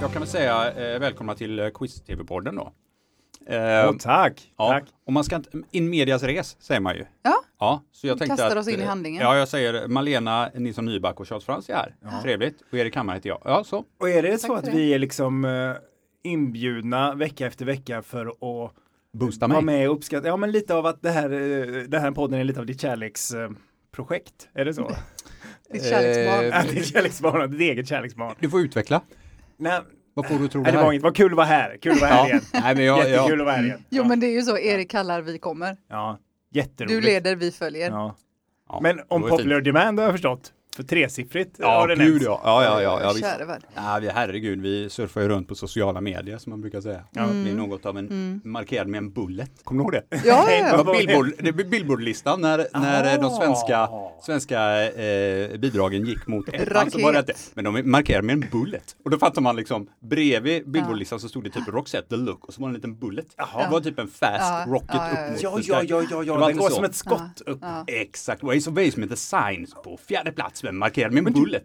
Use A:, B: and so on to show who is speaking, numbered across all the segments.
A: jag kan väl säga eh, välkomna till eh, Quiz-TV-podden då. Eh,
B: Åh, tack!
A: ja,
B: tack.
A: Och man ska inte, in medias res säger man ju.
C: Ja.
A: Ja, så jag
C: Vi
A: tänkte
C: kastar
A: att,
C: oss in i
A: eh,
C: handlingen.
A: Ja, jag säger Malena Nilsson Nyback och Charles Frans är här. Trevligt. Och Erik Hammar heter jag. Ja, så.
B: Och är det så
C: Tack
B: att
C: för
B: vi är liksom eh, inbjudna vecka efter vecka för att
A: Boosta
B: vara
A: mig.
B: med och uppskatta, ja men lite av att det här, eh, den här podden är lite av ditt kärleksprojekt, är det så?
C: Ditt kärleksbarn.
A: Eh,
B: Ja, ditt kärleksbarn, ditt eget kärleksbarn.
A: Du får utveckla.
B: Nej,
A: Vad får du tro
B: nej, det var inget, vad kul att vara här, kul att vara här
A: Ja.
B: igen.
A: Nej, men jag,
B: Jättekul
A: jag,
B: att vara här igen.
C: Jo, men det är ju så. Erik kallar, vi kommer.
B: Ja, jätteroligt.
C: Du leder, vi följer.
B: Ja.
A: ja,
B: Men om
A: det var ju
B: popular demand har jag förstått, för tresiffrigt
A: Ja,
B: har det
A: gud
B: nämnts.
A: ja. Ja, ja, ja, ja visst.
C: Käre värld.
A: Ja, vi, herregud, vi surfar ju runt på sociala medier som man brukar säga. Det är något av
C: Mm.
A: en markerad med en bullet. Kommer du ihåg det?
C: Ja,
B: Nej,
C: ja,
A: Det
C: ja.
A: var Billboard, det blev Billboardlistan när, när de svenska,
B: Ah.
A: svenska eh, bidragen gick mot ettan. Så
C: Raket.
A: var det inte, men de markerade med en bullet. Och då fattar man liksom, bredvid Billboardlistan så stod det typ Roxette, The Look och så var det en liten bullet. Det var typ en fast
C: Ja.
A: rocket
C: Ja, ja,
A: upp mot
B: Ja,
A: the sky.
B: ja, ja, ja,
A: Det var
B: ja. den
A: inte
B: går
A: så.
B: som ett skott upp.
A: Exakt, Ways of Basement Designs på fjärde plats med markerad med en bullet.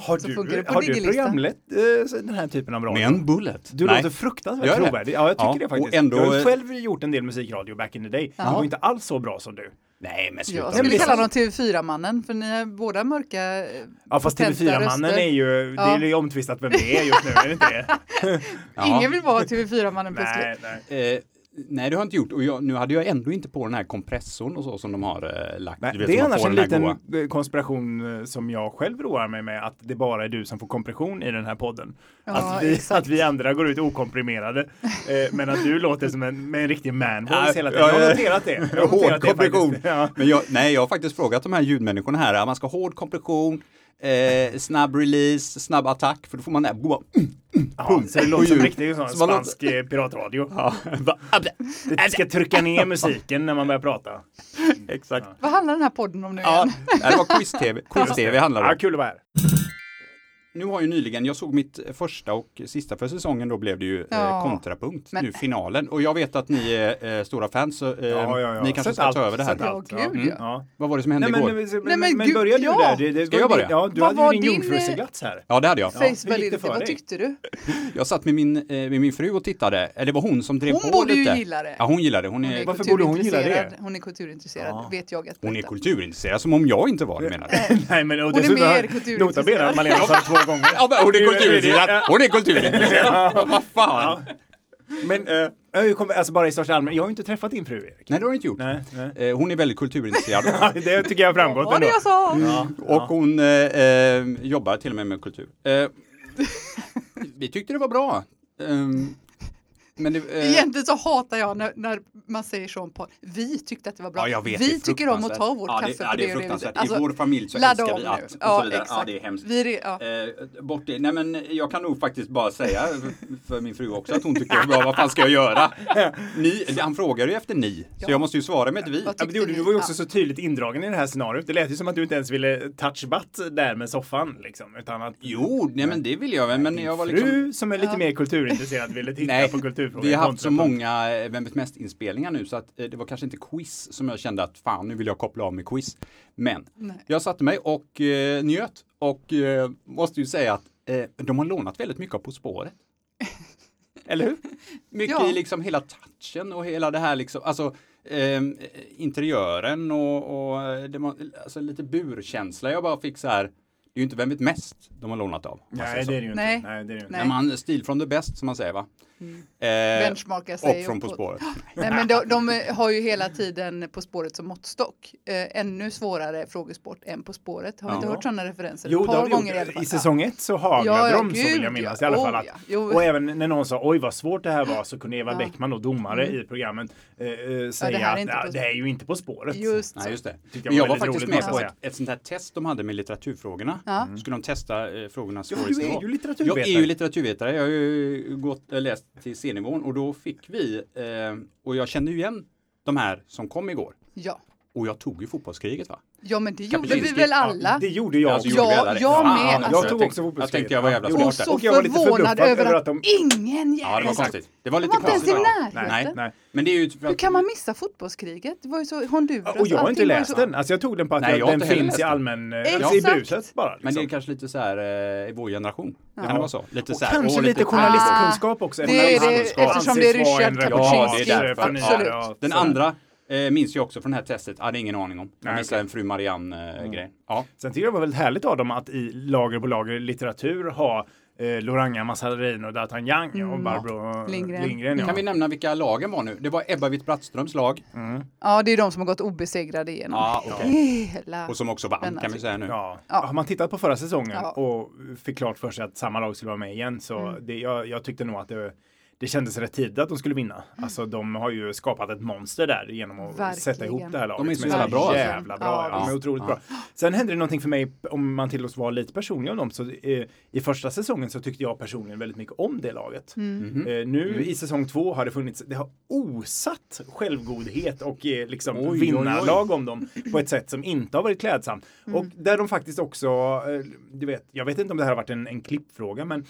B: Har
C: Så funkar
B: du,
C: det på
B: har du
C: diggerlistan.
B: programlett eh, så- den här typen av radio?
A: Med en bullet.
B: Du
A: Nej.
B: låter fruktansvärt
A: Gör det?
B: trovärdig. Ja, jag tycker
A: Ja,
B: det faktiskt.
A: och ändå-
B: Jag har ju själv gjort en del musikradio back in the day. Det var inte alls så bra som du.
A: Nej men sluta.
C: Jag
A: med
C: skulle
A: det.
C: kalla honom TV4-mannen, för ni är båda mörka. eh,
B: Ja, fast
C: potenta
B: TV4-mannen
C: röster.
B: är ju, det är ju omtvistat vem det är just nu, är det inte det?
A: Ja.
C: Ingen vill vara TV4-mannen plötsligt.
B: nej, nej.
A: Eh, nej, det har jag inte gjort. Och jag, nu hade jag ändå inte på den här kompressorn och så som de har eh, lagt.
B: Nej,
A: Du vet,
B: det är
A: som man
B: annars
A: får
B: en
A: den här
B: liten
A: goa.
B: eh, konspiration eh, som jag själv roar mig med, att det bara är du som får kompression i den här podden.
C: Ja,
B: att, vi,
C: exakt.
B: att vi andra går ut okomprimerade, eh, men att du låter som en, med en riktig manvoice
A: Ja, ja,
B: hela tiden. Jag har
A: ja.
B: noterat det. Jag har
A: Hård
B: noterat det
A: kompression.
B: faktiskt. Ja.
A: Men jag, nej, jag har faktiskt frågat de här ljudmänniskorna här. ja, Man ska ha hård kompression, eh, snabb release, snabb attack. För då får man den här goa...
B: Ja, så det låter som
A: ljud.
B: riktigt sån
A: Så man låter-
B: spansk eh, piratradio.
A: Ja.
B: Äh, Det ska trycka ner musiken när man börjar prata.
A: Exakt.
C: Vad handlar den här podden om nu
A: Ja,
C: igen?
A: det var quiz-tv. Quiz-tv handlar det
B: Ja,
A: om.
B: kul att vara här.
A: Nu har ju nyligen, jag såg mitt första och sista för säsongen, då blev det ju eh,
C: Ja.
A: kontrapunkt,
C: Men-
A: nu finalen. Och jag vet att ni är eh, stora fans, så eh,
B: Ja, ja, ja.
A: ni kanske
B: Sett
A: ska
B: allt,
A: ta över det här.
B: sett
C: Ja,
B: allt,
C: gud,
A: ja.
C: ja.
B: Ja.
A: Vad var det som hände
B: Nej, men,
A: igår?
B: men, men,
C: Nej, men
B: men,
C: gud,
B: börjar du
C: ja.
B: där? Det, det,
A: Ska jag
B: var-
A: börja?
B: Ja, du
C: Vad
B: hade ju
C: var
B: din
C: din,
B: jungfruseglats här.
A: Ja, det hade jag.
B: Ja, hur gick det
C: Facebook,
B: för
C: vad
B: dig?
C: tyckte du?
A: Jag satt med min, eh, med min fru och tittade, eller det var hon som drev
C: Hon
A: på
C: borde ju
A: lite.
C: gilla det.
A: Ja, hon gillade det. Hon är,
B: Varför borde hon gilla det?
C: kulturintresserad. Hon är kulturintresserad, vet jag att
A: hon är
C: berätta.
A: kulturintresserad, som om jag inte var det menar du?
B: Nej, men och
C: är
B: dessutom
C: mer
B: har-
C: kulturintresserad.
B: nota bene att Malena sa det två gånger.
A: Ja, men hon är kulturintresserad! Hon är kulturintresserad! Vad fan!
B: Men eh, jag kommer, alltså bara i största allmänhet, jag har ju inte träffat din fru Erik.
A: Nej, det har hon inte gjort.
B: Nej, nej.
A: Eh, Hon är väldigt kulturintresserad.
B: Det tycker jag har
C: Vad
B: framgått
C: var det
B: ändå.
C: jag sa?
B: Mm.
A: Och hon eh, eh, jobbar till och med med kultur. Eh, vi tyckte det var bra. Ehm, men det, eh,
C: Egentligen så hatar jag när, när man säger så om podd. Vi tyckte att det var bra.
A: Ja, jag vet, det
C: vi
A: är
C: tycker om att ta
A: fruktansvärt.
C: vårt
A: ja, det,
C: kaffe
A: ja,
C: på
A: det är
C: det viset.
A: fruktansvärt. I vår familj så
C: ladda
A: älskar
C: om
A: vi
C: nu.
A: att och så
C: Ja,
A: vidare. Ja,
C: exakt.
A: det är hemskt.
C: Vi, re- ja.
A: Eh, bort det. Nej men jag kan nog faktiskt bara säga för min fru också att hon tycker jag bara, vad fan ska jag göra? Ni, han frågar ju efter ni, så jag måste ju svara med ett vi.
B: Ja,
C: Vad
B: men det gjorde,
C: tyckte
B: du
C: ni?
B: var ju också så tydligt indragen i det här scenariot. Det lät ju som att du inte ens ville touch butt där med soffan. Liksom, utan att
A: Jo, nej men det vill jag väl, men jag var
B: fru
A: liksom...
B: som är lite mer kulturintresserad ville titta
A: Nej,
B: på kulturfrågor.
A: vi har haft så
B: kontra-
A: många eh, Vem vet mest-inspelningar nu så att eh, det var kanske inte quiz som jag kände att fan, nu vill jag koppla av med quiz. Men
C: Nej.
A: jag satte mig och eh, njöt och eh, måste ju säga att eh, de har lånat väldigt mycket av På spåret. Eller hur? Mycket
C: Ja.
A: i liksom hela touchen och hela det här liksom, alltså ehm, interiören och, och eh, det var, alltså, lite burkänsla. Jag bara fick så här, det är ju inte Vem vet mest de har lånat av. om man säger
B: Nej,
A: så.
B: det är det ju inte.
C: Nej.
B: Nej, det är det ju inte.
C: Nej.
A: När man stil från det bäst som man säger va? Eh,
C: Benchmarka sig.
A: och från På
C: uppåt.
A: spåret.
C: Nej, men de, de eh, har ju hela tiden På spåret som måttstock. Eh, ännu svårare frågesport än På spåret. Har vi inte
A: Ja.
C: hört sådana referenser?
B: Jo,
C: Ett
B: det
C: par
B: har vi
C: gånger i
B: gjort.
C: alla
B: I,
C: fall.
B: säsong ett så haglade
C: Ja, ja,
B: de, så vill jag
C: gud,
B: minnas i
C: ja.
B: alla
C: Oh,
B: fall. Att,
C: ja. Jo.
B: Och även när någon sa oj vad svårt det här var så kunde Eva Bäckman, då, domare i programmet, eh, eh, säga
C: Mm. här är
B: att
C: inte
B: "Ah,
C: på-
B: det är ju inte På spåret.
C: Just
A: Nej,
C: så.
A: just det.
B: Tycker jag
A: Men jag
B: var
A: var
B: väldigt
A: faktiskt
B: roligt,
A: med
B: måste
A: på
B: jag
A: ett, ett sånt här test de hade med litteraturfrågorna.
C: Ja.
A: Skulle
B: Mm.
A: de testa eh, frågornas
B: Ja, du är
A: svårighetsnivå.
B: ju litteraturvetare.
A: Jag är ju litteraturvetare. Jag har ju gått, eh, läst till C-nivån och då fick vi, eh, och jag kände ju igen de här som kom igår.
C: Ja.
A: Och jag tog ju fotbollskriget va?
C: Ja men det gjorde vi
A: Kapitalistiskt.
C: väl alla.
B: Det gjorde jag.
A: Alltså,
B: också.
A: gjorde vi alla
C: Ja,
A: det?
C: jag
A: Fan,
C: med.
A: alltså,
B: jag tog
A: tänkte-
B: också
A: Jag tänkte jag var jävla
B: fotbollsklipp.
A: smart
C: Och
A: där.
C: så
B: Och jag var lite
C: förvånad
B: förbluffad
C: över
B: över
C: att,
B: att de-
C: ingen jävel...
A: Ja, det var konstigt. Det var
C: De
A: lite
C: var inte ens i
A: konstigt. Ja.
C: närheten.
B: Nej.
A: Men det är ju... för
C: Hur
A: att-
C: kan man missa fotbollskriget? Det var ju så
B: Och jag
C: Honduras.
B: har inte
C: allting var ju
B: läst
C: så-
B: den. Alltså jag tog den på att
A: Nej, jag har
B: den
A: inte heller läst
B: finns i
A: den.
B: allmän... eh,
C: Exakt.
B: I bruset bara. Liksom.
A: Men det är kanske lite så här eh, i vår generation. Det kan
B: Ja.
A: det vara så. Lite
B: Och
A: så här,
B: kanske
A: åh,
B: lite journalistkunskap också.
C: Ah, Det är det,
B: Journalistkunskap
C: eftersom det är
B: anses vara en
C: Richard
A: Kapuscinski. Ja, det är
B: reportage
A: därför.
B: för nya-
C: Absolut.
B: ja,
A: Den
B: så här.
A: andra eh, minns jag också från det här testet. Jag hade ingen aning om. Jag
B: Nej,
A: missade
B: okej. Mm.
A: en fru Marianne-grej. Ja.
B: Sen tycker jag det var väldigt härligt av dem att i lager på lager litteratur ha eh, Loranga Massarin och D'Artagnan och Barbro
C: Mm, Lindgren.
B: Lindgren. ja. Mm.
A: Kan vi nämna vilka lagen var nu? Det var Ebba Witt-Brattströms lag.
C: Ja, det är de som har gått obesegrade igenom
A: Ja, okej.
C: hela...
A: Och som också vann
C: Denna typ.
A: kan vi säga nu.
B: Ja.
C: Ja.
B: Har man tittat på förra säsongen
C: Ja. Mm.
B: och fick klart för sig att samma lag skulle vara med igen så det, jag, jag tyckte nog att det, det kändes rätt tidigt att de skulle vinna.
C: Mm.
B: Alltså de har ju skapat ett monster där genom att
C: Verkligen.
B: sätta ihop det här laget.
A: De är så
B: som
A: jävla bra, alltså.
B: Jävla bra.
C: Ja,
B: Ja, de är
A: visst.
B: otroligt
A: Ja.
B: bra. Sen hände det någonting för mig om man tillåts vara lite personlig om dem. Så, eh, I första säsongen så tyckte jag personligen väldigt mycket om det laget.
A: Mhm.
B: Eh, nu
A: Mm.
B: i säsong två har det funnits, det har osatt självgodhet och eh, liksom
A: Oj, oj, oj.
B: vinnarlag om dem på ett sätt som inte har varit klädsamt. Och där de faktiskt också, eh, du vet, jag vet inte om det här har varit en, en klippfråga, men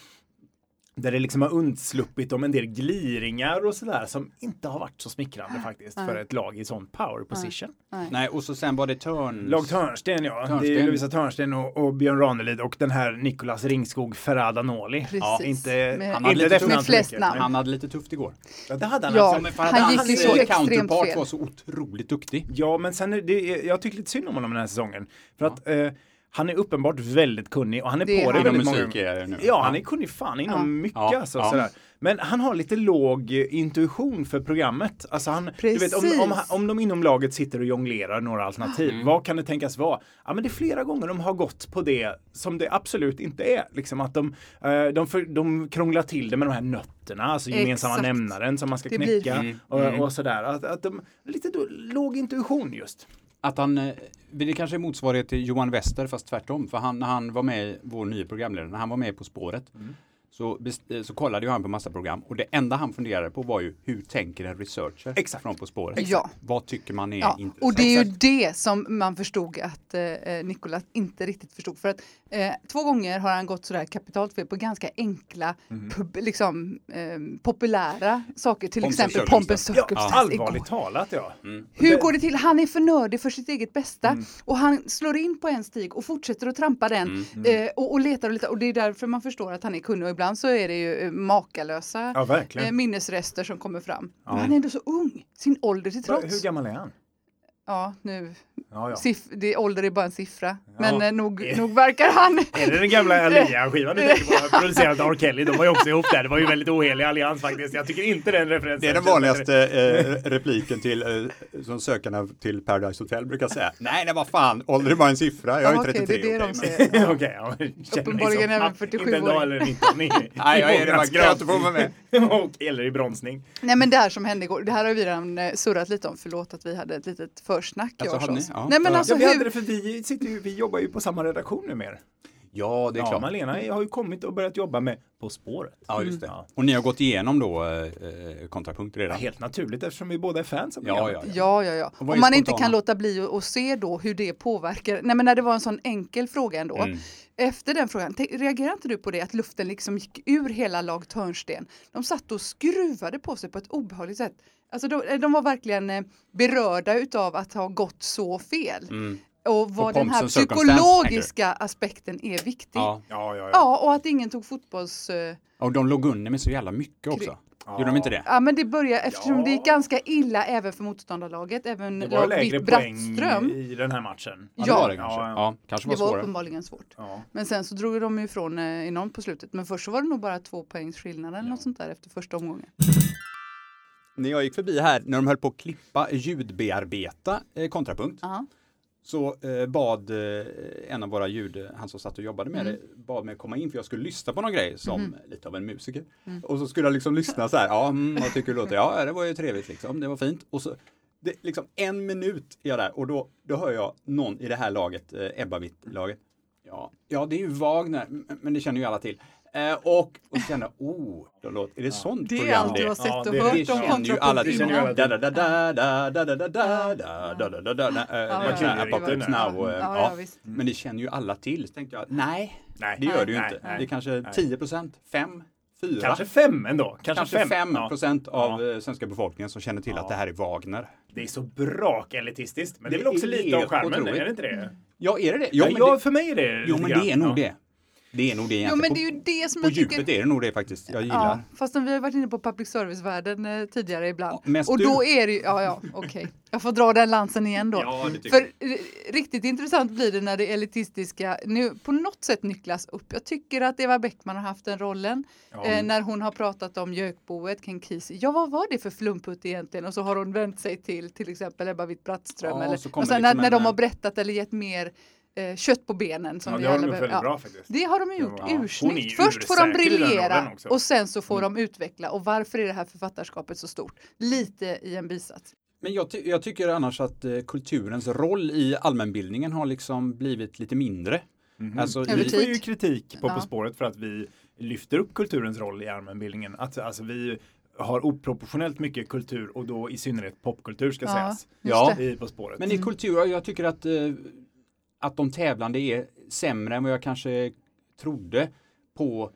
B: där det liksom har undsluppit om en del gliringar och sådär som inte har varit så smickrande faktiskt för ett lag i sån power position.
A: Nej, och så sen var det Törns.
B: Lag Törnsten ja, det är
A: Törnsten.
B: Lovisa Törnsten och, och Björn Ranelid och den här Nicolas Ringskog Ferrada Noli.
C: Precis.
B: inte,
C: Med-
B: han
A: hade
B: inte
A: lite
B: definant
A: med
C: flest
B: mycket,
C: namn.
B: men-
A: Han hade lite tufft igår.
B: Ja, det hade han.
C: Ja,
B: alltså.
A: men för
C: han
A: hade
C: gick ju
A: hans
C: så extremt
A: eh, counterpart
C: fel.
A: var så otroligt duktig.
B: Ja, men sen är det, jag tycker lite synd om honom den här säsongen. För att eh, han är uppenbart väldigt kunnig och han är
C: Det är
B: på
C: han.
B: det
A: Inom
B: väldigt många
A: musik är det nu.
B: Ja, han är kunnig fan inom mycket
A: Ja,
B: alltså.
A: ja.
B: Sådär. Men han har lite låg eh, intuition för programmet. Alltså han, du vet, om, om,
C: Precis. Mm.
B: om de inom laget sitter och jonglerar några alternativ, vad kan det tänkas vara? Ja, men det är flera gånger de har gått på det som det absolut inte är. Liksom att de, eh, de, för, de krånglar till det med de här nötterna, alltså gemensamma
C: Exakt.
B: nämnaren som man ska
C: Det blir- Mm.
B: knäcka
A: Mm.
B: och, och sådär. Att, att de, lite då, låg intuition just.
A: Att han, eh, det kanske är motsvarighet till Johan Wester fast tvärtom. För han, när han var med, i vår nya programledare, när han var med På spåret så, bes- eh, så kollade ju han på massa program och det enda han funderade på var ju hur tänker en researcher
B: Exakt.
A: från På spåret?
C: Ja.
A: Vad tycker man är
C: Ja,
A: intressant?
C: och det är ju det som man förstod att eh, Nikolas inte riktigt förstod. För att eh, två gånger har han gått sådär kapitalt fel på ganska enkla,
B: Mhm.
C: pub, liksom, eh, populära saker. Till
A: Pompens
C: exempel
A: circumstance.
C: Pompens
B: Ja,
C: circumstance igår.
B: allvarligt talat ja.
C: Hur
B: Det- Mm.
C: går det till? Han är för nördig för sitt eget bästa och han slår in på en stig och fortsätter att trampa den
B: mm.
C: Eh, och, och letar och letar och det är därför man förstår att han är kunnig och ibland så är det ju eh, makalösa
B: Ja, verkligen.
C: eh, minnesrester som kommer fram. Men han är ändå så ung, sin ålder till
B: Va-
C: trots.
B: Hur gammal är han?
C: Ja, nu.
B: Ja, ja.
C: Siff det, ålder är bara en siffra. Men
B: Ja.
C: eh, nog, nog verkar han...
B: Är det den gamla Alia-skivan du tänker på? Producerad av R. Kelly. De var ju också ihop där. Det var ju väldigt ohelig allians faktiskt. Jag tycker inte den referensen.
A: Det är den vanligaste eh, repliken till, eh, som sökarna till Paradise Hotel brukar säga. Nej, nej, vad fan, ålder är bara en siffra, jag är
C: Ja,
A: 33.
C: okej, det är det de
A: okej, men-
C: säger.
B: Okej, ja. jag känner mig
C: Uppenbarligen
B: som-
C: även
B: Ah,
C: 47
B: Inte en
C: år.
B: dag eller 19. i- i
A: Nej, jag är det. Man kan jag inte få vara med.
B: Och, eller i bronsning.
C: Nej men det här som hände igår, det här har vi redan eh, surrat lite om, förlåt att vi hade ett litet försnack.
A: Alltså,
C: jag och
A: hade
C: oss.
A: ni? Ja.
C: Nej men
A: Ja.
C: alltså
B: ja, vi hade
C: hur...
B: det för vi, sitter ju, vi jobbar ju på samma redaktion nu mer.
A: Ja, det är
B: Ja,
A: klart.
B: Malena har ju kommit och börjat jobba med På spåret. Mm.
A: Ja, just det. Och ni har gått igenom då eh, eh, kontrapunkt redan?
B: Helt naturligt eftersom vi båda är fans av
A: Ja,
B: programmet.
A: ja,
C: Ja, ja, ja.
A: Och vad
C: Om
A: är
C: man inte
A: spontana?
C: kan låta bli att- att se då hur det påverkar. Nej, men när det var en sån enkel fråga ändå.
A: Mm.
C: Efter den frågan, te- reagerar inte du på det att luften liksom gick ur hela lag Törnsten? De satt och skruvade på sig på ett obehagligt sätt. Alltså de, de var verkligen eh, berörda utav att ha gått så fel. Och vad
A: Och
C: den här
A: Mm. pomps and circumstance,
C: psykologiska aspekten är viktig. Ja.
A: Ja.
B: ja, ja. ja.
C: ja, och att ingen tog fotbolls... eh,
A: Och de låg under med så jävla mycket också. Gjorde de inte det?
C: Ja, men det börjar eftersom
B: Ja.
C: det gick ganska illa även för motståndarlaget, även
B: Det var
C: lag
B: lägre
C: Witt
B: poäng
C: Brattström.
B: i den här matchen.
A: Ja,
C: Ja.
A: det var det kanske.
B: Ja,
A: Ja,
B: ja.
A: kanske var
C: Det var
A: svårare.
C: uppenbarligen svårt.
B: Ja.
C: Men sen så drog de ju ifrån eh, enormt på slutet. Men först så var det nog bara två poängs skillnad eller något sånt där efter första omgången.
A: När jag gick förbi här, när de höll på att klippa, ljudbearbeta eh, kontrapunkt,
C: Ja.
A: så eh, bad eh, en av våra ljud, han som satt och jobbade med
C: Mm.
A: det, bad mig komma in för jag skulle lyssna på någon grej som
C: Mhm.
A: lite av en musiker.
C: Mm.
A: Och så skulle jag liksom lyssna så här, ja, mm, vad tycker du låter? Ja, det var ju trevligt liksom, det var fint. Och så, det, liksom en minut är jag där och då, då hör jag någon i det här laget, eh, Ebba Witt-laget, ja, ja, det är ju Wagner, m- men det känner ju alla till. Eh, och, och känna, oh, de låter, är det sånt
C: Det är
A: program
C: allt du har sett och
B: det-
C: hört
A: det
C: om
A: känner ju alla till.
B: känner ju
C: kontrapunkterna.
A: Da, da, da, da,
B: alla
A: da, da, da, da, da, da, da, da, da, da, eh,
C: ja,
A: sån här
B: ja, ja.
A: Apocalypse
B: Ja,
A: Now. eh,
C: ja,
A: ja.
C: ja, visst.
A: Men det känner ju alla till. Så tänkte jag, nej,
B: Nej,
A: det gör det ju
B: nej,
A: inte.
B: nej.
A: Det är kanske 10 procent, 5, 4,
B: Kanske fem ändå. Kanske,
A: kanske
B: fem.
A: 5
B: Ja.
A: procent av eh, svenska befolkningen som känner till
B: Ja.
A: att det här är Wagner.
B: Det är så bra elitistiskt. Men det är väl
A: Det
B: också
A: är
B: lite av
A: helt
B: charmen,
A: otroligt.
B: är det inte det?
A: Ja, är det det?
B: Ja,
A: Jo, men
B: jag,
A: det,
B: för mig är det
A: jo,
B: lite
A: men
B: grann.
A: det är nog
B: Ja.
A: det. Det är nog det
C: Jo,
A: egentligen.
C: men det är ju det som
A: på på
C: jag tycker...
A: djupet är det nog det faktiskt. Jag
C: Ja,
A: gillar.
C: fastän vi har varit inne på public service-världen eh, tidigare ibland.
A: Ja, mest
C: och
A: du.
C: då är det ju, ja ja, okej. Jag får dra den lansen igen då.
A: Ja, det tycker
C: För eh, riktigt intressant blir det när det elitistiska nu på något sätt nycklas upp. Jag tycker att Eva Beckman har haft den rollen
B: Ja.
C: eh, när hon har pratat om Jökboet, Ken Kesey. Ja, vad var det för flumputt egentligen? Och så har hon vänt sig till till exempel Ebba Witt-Brattström.
A: Ja,
C: eller,
A: så kommer
C: och sen
A: liksom
C: när, när de
A: en-
C: har berättat eller gett mer eh, kött på benen.
B: eh,
C: Som
B: Ja,
C: vi
B: det har de
C: alla
B: gjort
C: behöver.
B: väldigt
C: Ja.
B: bra faktiskt.
C: Det har de gjort
B: Ja, hon är
C: ursnyggt.
B: ju
C: Först får de
B: ursäker i den rollen
C: briljera
B: också. Mm.
C: och sen så får de utveckla. Och varför är det här författarskapet så stort? Lite i en bisats.
A: Men jag, ty- jag tycker annars att eh, kulturens roll i allmänbildningen har liksom blivit lite mindre.
B: Mhm.
A: Alltså,
C: Över
A: i,
B: Vi får ju
C: tid.
B: kritik på
C: Ja.
B: På spåret för att vi lyfter upp kulturens roll i allmänbildningen. Att alltså, vi har oproportionellt mycket kultur och då i synnerhet popkultur ska
C: Ja.
B: sägas
A: ja,
B: i På spåret.
A: men i
C: Mm.
A: kultur, jag tycker att, eh, att de tävlande är sämre än vad jag kanske trodde på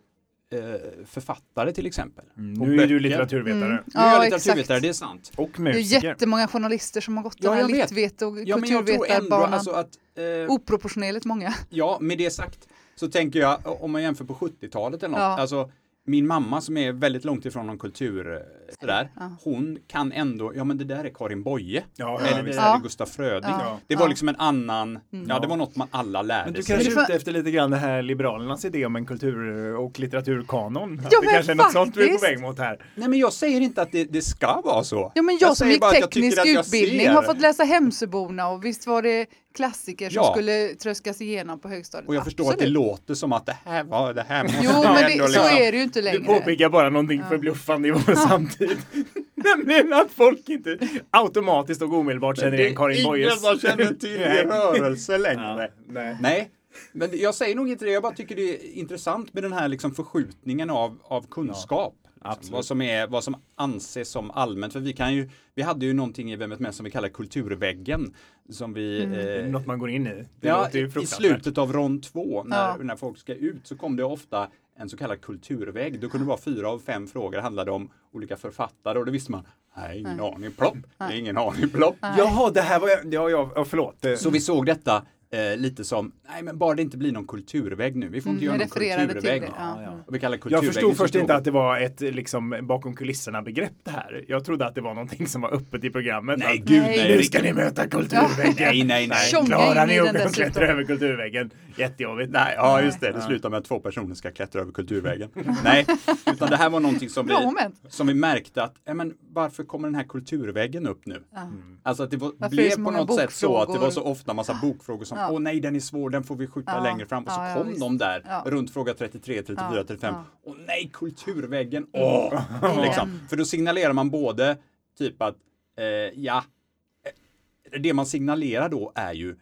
A: eh, författare till exempel.
B: Mm,
A: På
B: nu är
A: böcker.
B: du litteraturvetare
C: Mm.
A: Nu är jag
C: Ja,
A: litteraturvetare,
C: exakt.
A: det är sant.
B: och
C: Det är
B: musiker.
C: jättemånga journalister som har gått
A: Ja,
C: den här
A: jag vet.
C: litvete och
A: Ja, men jag tror ändå
C: kulturvetarbanan.
A: alltså att eh,
C: Oh. Oproportionerligt många.
A: Ja, med det sagt så tänker jag om man jämför på 70-talet eller något.
C: Ja.
A: Alltså, min mamma som är väldigt långt ifrån någon kultur eh, sådär,
C: Ja.
A: hon kan ändå, ja men det där är Karin Boye.
B: Ja, ja,
A: Eller det
B: visst.
A: där
C: Ja. Mm.
A: är Gustaf Fröding.
B: Ja.
A: Det var liksom en annan, ja det
B: Ja.
A: var något man alla lärde
B: Men du
A: sig.
B: kanske är
C: Men det
B: ute efter lite grann det här Liberalernas idé om en kultur och litteraturkanon. Att
C: Ja,
B: det
C: men
B: kanske är något sånt vi är på
C: faktiskt.
B: väg mot här.
A: Nej men jag säger inte att det, det ska vara så.
C: Ja, men jag, som
A: säger
C: gick
A: bara att jag tycker
C: teknisk
A: att jag
C: utbildning
A: ser-
C: har fått läsa Hemsöborna och visst var det klassiker som
A: Ja.
C: skulle tröskas igenom på högstadiet.
A: Och jag förstår att det låter som att det här var, det här måste
C: Jo,
A: man
C: men
A: ändå
C: det, så
A: liksom-
C: är det ju inte
B: Du
C: längre.
B: påpekar bara någonting förbluffande i vår samtid. Nämligen att folk inte automatiskt och omedelbart känner igen Karin Boyes.
A: Ingen som känner till
B: Nej.
A: din rörelse längre.
B: Ja, nej.
A: Nej, men jag säger nog inte det. Jag bara tycker det är intressant med den här liksom förskjutningen av, av kunskap. Liksom,
B: absolut.
A: vad, som är, vad som anses som allmänt. För vi, kan ju, vi hade ju någonting i Vem vet mest som vi kallar kulturväggen. Som vi...
C: Mm.
A: eh,
B: Något man går in i. Det
A: ja,
B: låter ju
A: I
B: fruktansvärt.
A: slutet av rond två, när,
C: Ja.
A: när folk ska ut, så kom det ofta en så kallad kulturvägg. Då kunde det vara fyra av fem frågor handlade om olika författare och det visste man. Nej, ingen aning. Plopp! Det är ingen aning. Plopp!
B: Jaha, det här var... jag- Ja, ja, ja förlåt. Eh,
A: Så vi såg detta eh, lite som, nej men bara det inte blir någon kulturvägg nu. Vi får inte
C: jag
A: göra någon
C: Mm, refererade till
A: kulturvägg.
C: det, ja. Ja,
A: Och Vi kallar
B: Jag
A: kulturväggen
B: förstod
A: för
B: först inte
A: stor.
B: att det var ett eh, liksom bakom kulisserna begrepp det här. Jag trodde att det var någonting som var öppet i programmet.
A: Nej,
B: att,
A: gud
C: Nej.
A: nej.
B: Nu ska ni möta kulturväggen.
A: Nej, nej, nej.
C: Tjonga
B: Klarar
C: in i
B: ni
C: den
B: att
C: dessutom.
B: klättra över kulturväggen? Jättejobbigt.
A: Nej, ja just det, det slutar med att två personer ska klättra över kulturvägen. Nej, utan det här var någonting som vi,
C: Bra moment.
A: som vi märkte att, ja, men varför kommer den här kulturväggen upp nu?
C: Ja.
A: Alltså att det var,
C: Varför är det
A: blev
C: så
A: på
C: många
A: något sätt så att det var så
C: bokfrågor?
A: ofta massa bokfrågor som,
C: Ja.
A: åh nej den är svår, den får vi skjuta
C: Ja.
A: längre fram. Och så
C: Ja, ja,
A: kom
C: visst.
A: de där,
C: Ja.
A: runt fråga 33, 34,
C: Ja,
A: 35.
C: ja.
A: Åh nej, kulturväggen, åh!
C: Igen.
A: Liksom. För då signalerar man både typ att, eh, ja, eh, det man signalerar då är ju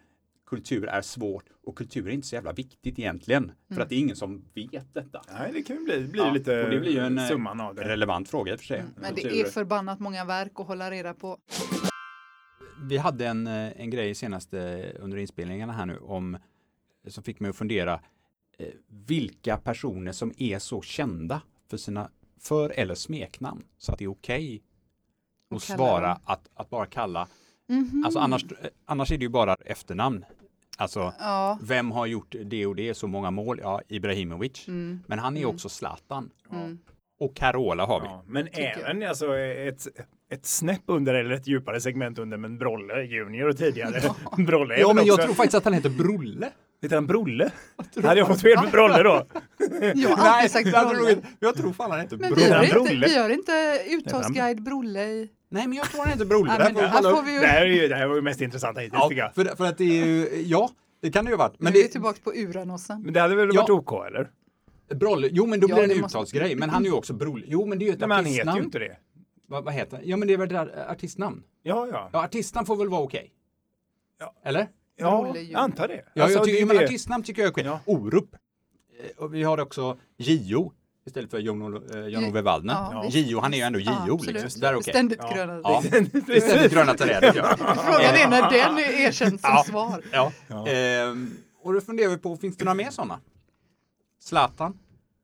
A: kultur är svårt och kultur är inte så jävla viktigt egentligen. För
C: Mm.
A: att det är ingen som vet detta.
B: Nej, det kan ju bli, bli
A: Ja,
B: lite
A: och det blir ju en, eh,
B: summan av det.
A: Relevant fråga i och för sig.
C: Mm. Men det är
A: Kultur-
C: förbannat många verk att hålla reda på.
A: Vi hade en, eh, en grej senaste under inspelningarna här nu om, eh, som fick mig att fundera eh, vilka personer som är så kända för sina för eller smeknamn så att det är okej
C: Och
A: att
C: kalla
A: svara
C: dem.
A: att, att bara kalla.
C: Mhm.
A: Alltså annars, eh, annars är det ju bara efternamn. Alltså,
C: Ja.
A: vem har gjort det och det, så många mål? Ja, Ibrahimovic.
C: Mm.
A: Men han är också Zlatan.
C: Mm.
A: Och Carola har vi.
B: Ja, men
C: jag.
B: även alltså, ett, ett snäpp under eller ett djupare segment under, men Brolle junior och tidigare. Brolle är
A: Ja,
B: väl
A: men jag
B: också-
A: tror faktiskt att han heter Brolle.
B: Heter han Brolle? Hade jag fått fel med Brolle då?
C: Jag har alltid sagt Brolle.
A: jag tror fan han heter
C: Men
A: Brolle.
C: vi har,
B: Brolle.
C: inte, vi har inte uttalsguide Brolle i...
A: Nej, men jag tror han heter Brolle. Där
C: Nej, men
A: får vi
C: här
A: kolla
C: får
A: upp.
C: vi
B: Det
C: ju...
B: här, är ju, det här var ju mest intressanta hittills tycker
A: ja,
B: jag.
A: för, för att det är ju, ja, det kan det ju ha varit.
C: Men
A: Men
C: det... Vi är
A: det,
C: tillbaka på urannonsen.
B: Men det hade väl
A: Ja.
B: varit OK eller?
A: Brolle, jo men då
C: Ja,
A: blir det
C: det
A: en
C: måste-
A: uttalsgrej. Men han är ju också Brolle. Jo, men det är ju ett
B: Nej, men han heter ju
A: artistnamn.
B: inte det.
A: Vad, vad heter han? Ja, men det är väl det där, eh, artistnamn?
B: Ja, ja.
A: Ja, artistnamn får väl vara okej?
B: Ja.
A: Eller?
B: Ja,
C: Brolle
B: jag
C: junior.
B: antar det.
A: Ja,
B: Alltså,
A: jag
B: det
A: tycker,
B: är
A: men
B: det-
A: artistnamn tycker jag är okej.
B: Ja.
A: Orup. Eh, och vi har också Gio istället för eh, Jan-Ove Waldner.
C: Ja, visst.
A: Gio, han är ju ändå Gio.
C: Ja, absolut.
A: liksom, så där är okej.
C: Ständigt
B: Ja.
C: gröna
A: Ja,
C: linjer.
A: det är ständigt gröna trädet. Ja.
C: Frågan är när den är erkänd som
A: Ja.
C: svar.
A: Ja.
B: Ja.
A: Ehm, och då funderar vi på, finns det några mer sådana? Zlatan,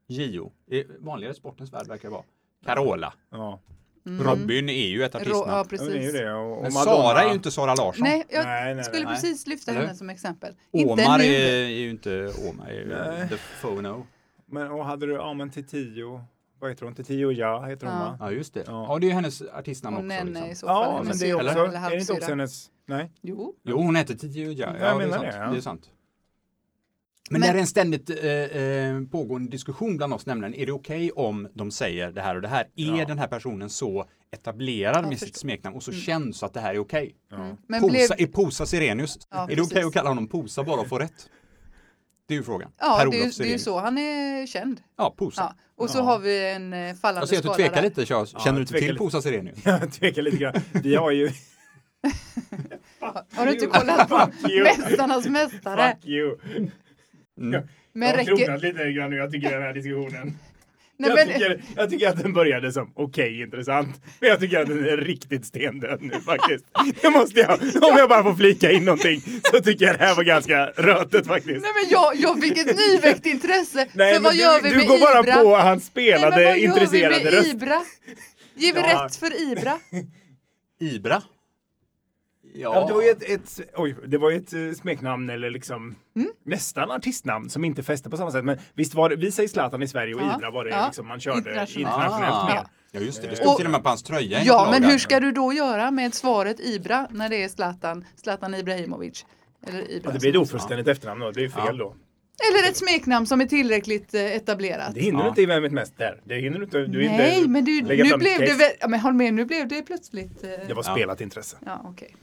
A: Gio, i vanligare sportens värld verkar det vara. Carola,
B: Ja.
A: Robin är ju ett
C: Rå,
A: artistnamn.
B: Ja,
C: Mm. ja,
B: det är ju
C: precis.
B: det. Och, och
A: Men
B: Madonna-
A: Sara är ju inte Sara Larsson.
C: Nej, jag
B: Nej, nej,
C: skulle
B: nej.
C: precis lyfta
A: Eller?
C: henne som exempel.
A: Omar
C: inte nu.
A: är, är ju inte Omar, är ju
B: Nej.
A: the phono.
B: Men och hade du, ja men till tio, vad heter hon, till tio ja heter hon
C: Ja.
B: va?
A: Ja, just det. Ja,
B: Ja.
A: det är ju hennes artistnamn
C: Och
A: också.
C: Nenne i
A: liksom.
C: så fall.
B: ja,
C: hennes
B: men det är
C: syra
B: också, är
C: eller
B: det inte också
C: halvsyra.
B: hennes, nej?
C: Jo.
A: Jo, hon heter Tio ja,
B: Jag
A: ja, det, är
B: menar
A: sant.
B: det, ja.
A: det är sant. Men,
C: Men-
A: det är en ständigt eh, eh, pågående diskussion bland oss, nämligen är det okej om de säger det här och det här? Är
B: Ja.
A: den här personen så etablerad
C: Ja,
A: med sitt
C: förstå-
A: smeknamn och så känd så att det här är okej?
B: Ja.
C: Mm. Men blev,
A: Posa, Är Posa Sirenius,
C: Ja,
A: är det okej
C: precis.
A: att kalla honom Posa bara för rätt? Det är ju frågan.
C: ja,
A: Per-Olof
C: det, är ju- det är ju
A: Sirenius.
C: så han är känd.
A: Ja, Posa. Alltså,
C: Ja. Och så
B: Ja.
C: har vi en eh, fallande
A: Jag ser att du
C: skala
A: tvekar
C: där.
A: lite, Charles.
B: Ja,
A: Känner
B: jag
A: du inte
B: tvekar
A: till
B: lite.
A: Posa Sirenius?
B: Jag tvekar lite grann. Vi har ju,
C: Har du inte kollat på
B: Fuck you.
C: Mästarnas mästare?
B: fuck you.
A: Mm.
C: Men
B: jag har
C: räcker...
B: kronat lite grann nu, jag tycker den här diskussionen.
C: Nej,
B: jag,
C: men,
B: tycker, jag tycker att den började som okej intressant, men jag tycker att den är riktigt stendöd nu faktiskt. Det måste jag, om jag bara får flika in någonting så tycker jag det här var ganska rötet faktiskt.
C: nej, men jag, jag fick ett nyväckt intresse. För
B: men
C: vad
B: du,
C: gör vi
B: du
C: med
B: går bara
C: Ibra?
B: på hans
C: Nej, men
B: spelade
C: vad gör vi
B: intresserade
C: med
B: röst.
C: Ibra? Ger vi
B: Ja.
C: rätt för Ibra?
A: Ibra?
B: Ja, det var ju ett, ett, oj, det var ju ett eh, smeknamn eller liksom
C: Mm.
B: nästan artistnamn som inte fäste på samma sätt. Men visst var det, vi säger Zlatan i Sverige och
C: Ja,
B: Ibra var det
C: ja.
B: liksom man körde
C: Internationellt.
B: internationellt
A: Ah.
B: med.
A: Ja just det, det stod
C: Och-
A: till och med på hans tröja. i
C: Ja,
A: en
C: men
A: laga.
C: hur ska du då göra med svaret Ibra när det är Zlatan, Zlatan Ibrahimovic? Eller, Ibra.
B: Ja, det blir ett ofullständigt efternamn då, det är fel
A: Ja.
B: då.
C: Eller ett smeknamn som är tillräckligt eh, etablerat.
B: Det hinner
A: Ja.
B: du inte i Vem är mest där? Det hinner du inte. Du är
C: Nej,
B: inte,
C: men du,
B: lägga
C: nu
B: fram
C: blev det
B: case.
C: väl, ja, men håll med, nu blev det plötsligt... eh,
B: Det var
A: Ja.
B: spelat intresse.
C: Ja, okej.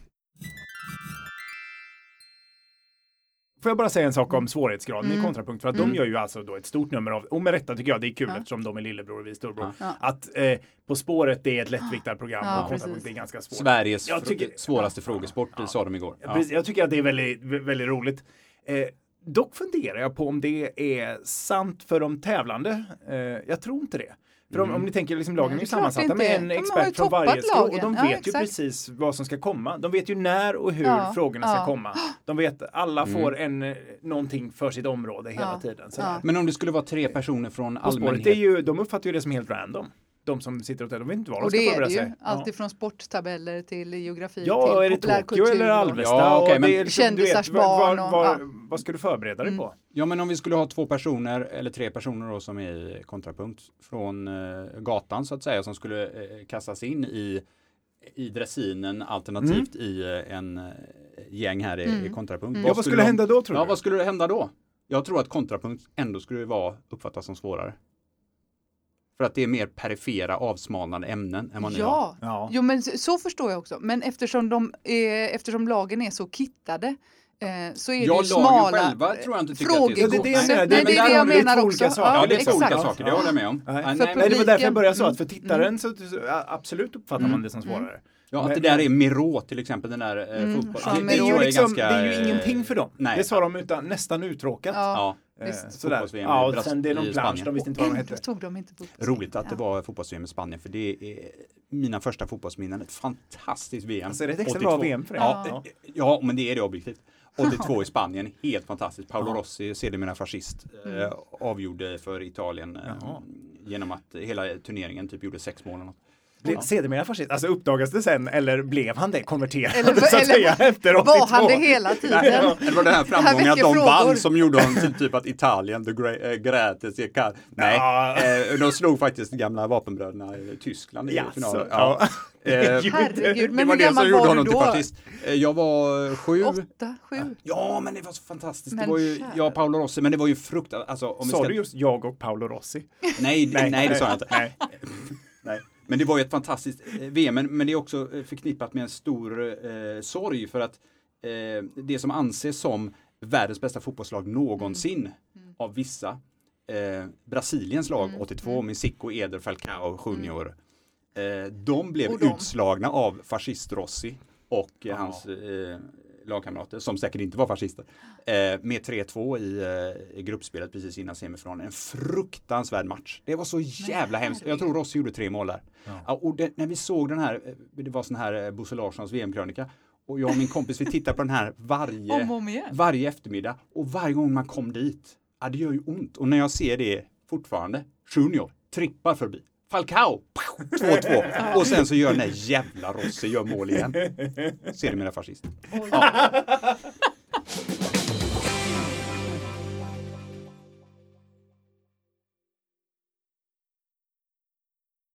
B: Får jag bara säga en sak om svårighetsgraden i
C: Mm.
B: kontrapunkt? För att
C: Mm.
B: de gör ju alltså då ett stort nummer av, och med rätta tycker jag det är kul
C: Ja.
B: eftersom de är lillebror och vi är storbror,
C: Ja.
B: att eh, På spåret det är ett lättviktarprogram
C: Ja,
B: och kontrapunkt
C: precis.
B: är ganska svårt.
A: Sveriges
B: Jag
A: fr-
B: tycker-
A: svåraste frågesport, det sa de igår.
B: Ja. precis. Jag tycker att det är väldigt, vä- väldigt roligt. Eh, dock funderar jag på om det är sant för de tävlande. Eh, jag tror inte det. För om, om ni tänker, liksom, lagen
C: Mm.
B: är
C: Nej, det är
B: ju
C: klart
B: sammansatta
C: det inte
B: med
C: är.
B: en
C: De har ju
B: expert från
C: toppat
B: varje skola och
C: lagen.
B: de
C: Ja,
B: vet ju
C: exakt.
B: precis vad som ska komma. De vet ju när och hur
C: Ja,
B: frågorna ska
C: ja.
B: komma. De vet, alla
A: Mm.
B: får en, eh, någonting för sitt område hela
C: Ja,
B: tiden.
C: ja.
B: Sådär.
A: Men om det skulle vara tre personer från
B: På spåret
A: allmänheten.
B: är ju, de uppfattar ju det som helt random. De som sitter och de vet inte vad de
C: Och
B: ska
C: det är
B: förbereda
C: det
B: sig.
C: ju. Allt ifrån sporttabeller till geografi
B: Ja, är det
C: till
B: Tokyo
C: populärkultur.
B: eller
C: och-
B: Alvesta?
A: Ja, okej,
B: och
A: men-
B: det är liksom, du
C: Kändisars
B: vet, vad-
C: barn och-
B: vad-
C: ja. Mm.
B: vad- Vad ska du förbereda dig på?
A: Ja men om vi skulle ha två personer eller tre personer då som är i kontrapunkt från eh, gatan så att säga som skulle eh, kastas in i, i dressinen alternativt i eh, en eh, gäng här i, i kontrapunkt.
B: Mm. Ja, vad skulle
A: de-
B: hända då tror
A: Ja
B: du?
A: vad skulle hända då? Jag tror att kontrapunkt ändå skulle vara uppfattas som svårare. För att det är mer perifera avsmalnande ämnen än vad ni har.
C: Ja,
B: Ja.
C: Jo, men så- så förstår jag också. Men eftersom, de är, eftersom lagen är så kittade eh, så är
A: Ja,
C: det ju
A: lagen
C: smala
A: själva tror jag inte tycker att det
C: frågor.
A: är så
B: Ja, det är det jag
A: svårt.
B: menar.
C: Nej,
B: Det är-
C: det är
B: men
C: det
B: där
C: jag
B: har du
C: menar
B: två
C: också.
B: olika saker.
A: Ja,
C: Ja,
A: det är två olika
C: exakt.
A: saker, det håller jag med om.
B: Nej.
A: Ja,
C: För
A: nej, men-
B: Nej, det var därför jag
C: Publiken.
B: började så, att för
C: Mm.
B: tittaren så, så ja, absolut uppfattar
A: Mm.
B: man det som svårare.
A: ja, att det där är Miró till exempel, den där eh,
C: Mm,
A: fotbollen.
C: ja,
A: det,
B: Det är,
A: tror
B: ju
A: jag
B: liksom,
A: ganska,
B: det är ju
A: eh,
B: ingenting för dem.
A: nej.
B: Det sa de utan, nästan uttråkat.
C: Ja.
A: Ja,
B: Eh,
C: visst.
B: sådär.
A: Fotbolls-VM i
B: Ja, och
A: Bras-
B: sen det är
A: i
B: någon plansch, de
A: Spanien.
B: visste inte vad de
C: Ändå
B: hette.
C: tog de inte på
A: roligt att det
C: Ja.
A: var fotbolls i Spanien för det är eh, mina första fotbollsminnen. Ett fantastiskt VM.
B: Alltså, det är ett extra bra
A: 82.
B: VM för det.
A: Ja, eh, ja, men det är det objektivt. 82 i Spanien, helt fantastiskt. Paolo Rossi, sedermera fascist,
C: Mm.
A: eh, avgjorde för Italien eh,
B: Jaha.
A: genom att hela turneringen typ gjorde sex mål. eller något.
B: Blev Sedermera fascist? Alltså uppdagades det sen eller blev han det? Konverterad
C: Eller-
B: så att
C: eller
B: säga efter 82?
C: Var han det hela tiden?
A: Eller var det här
C: Det
A: framgången
C: här
A: att
C: väcker
A: de
C: frågor.
A: vann som gjorde honom till typ att Italien, the great, äh, gratis, jag kan. Nej,
B: Ja.
A: eh, de slog faktiskt gamla vapenbröderna i Tyskland i
B: Jaså,
A: finalen.
B: ja. Det är
A: Eh,
B: ju inte-
C: Herregud,
A: det
C: men
A: var
C: hur
A: det som
C: gammal
A: gjorde
C: var du
A: honom till
C: då?
A: fascist. Eh, Jag var eh, sju.
C: Åtta, sju?
A: Ja, men det var så fantastiskt.
C: Men
A: det var ju
C: kär.
A: jag och Paolo Rossi, men det var ju fruktansvärt. Alltså, om vi
B: Sa
A: ska...
B: du just jag och Paolo Rossi?
A: Nej, nej, nej, det sa jag inte.
B: Nej.
A: Nej. Men det var ju ett fantastiskt eh, VM, men, men det är också eh, förknippat med en stor eh, sorg för att eh, det som anses som världens bästa fotbollslag någonsin
C: Mm.
A: av vissa, eh, Brasiliens lag
C: Mm.
A: 82 med Zico, Eder, Falcao, Junior, eh, de blev
C: Mm. Och de.
A: utslagna av fascist-Rossi och eh, hans eh, lagkamrater, som säkert inte var fascister, eh, med 3-2 i, eh, i gruppspelet precis innan semifinalen. En fruktansvärd match. Det var så jävla hemskt. Jag tror Ross gjorde tre mål där. Ja, och det, när vi såg den här, eh, det var sån här eh, Bosse Larssons VM-krönika, och jag och min kompis vi tittar på den här
C: Om och
A: varje,
C: om igen.
A: varje eftermiddag och varje gång man kom dit, ja, det gör ju ont. Och när jag ser det fortfarande, Junior trippar förbi. Falcao, pow, 2-2. Och sen så gör den här jävla Rossi gör mål igen. Ser du mina fascister?
D: Oj.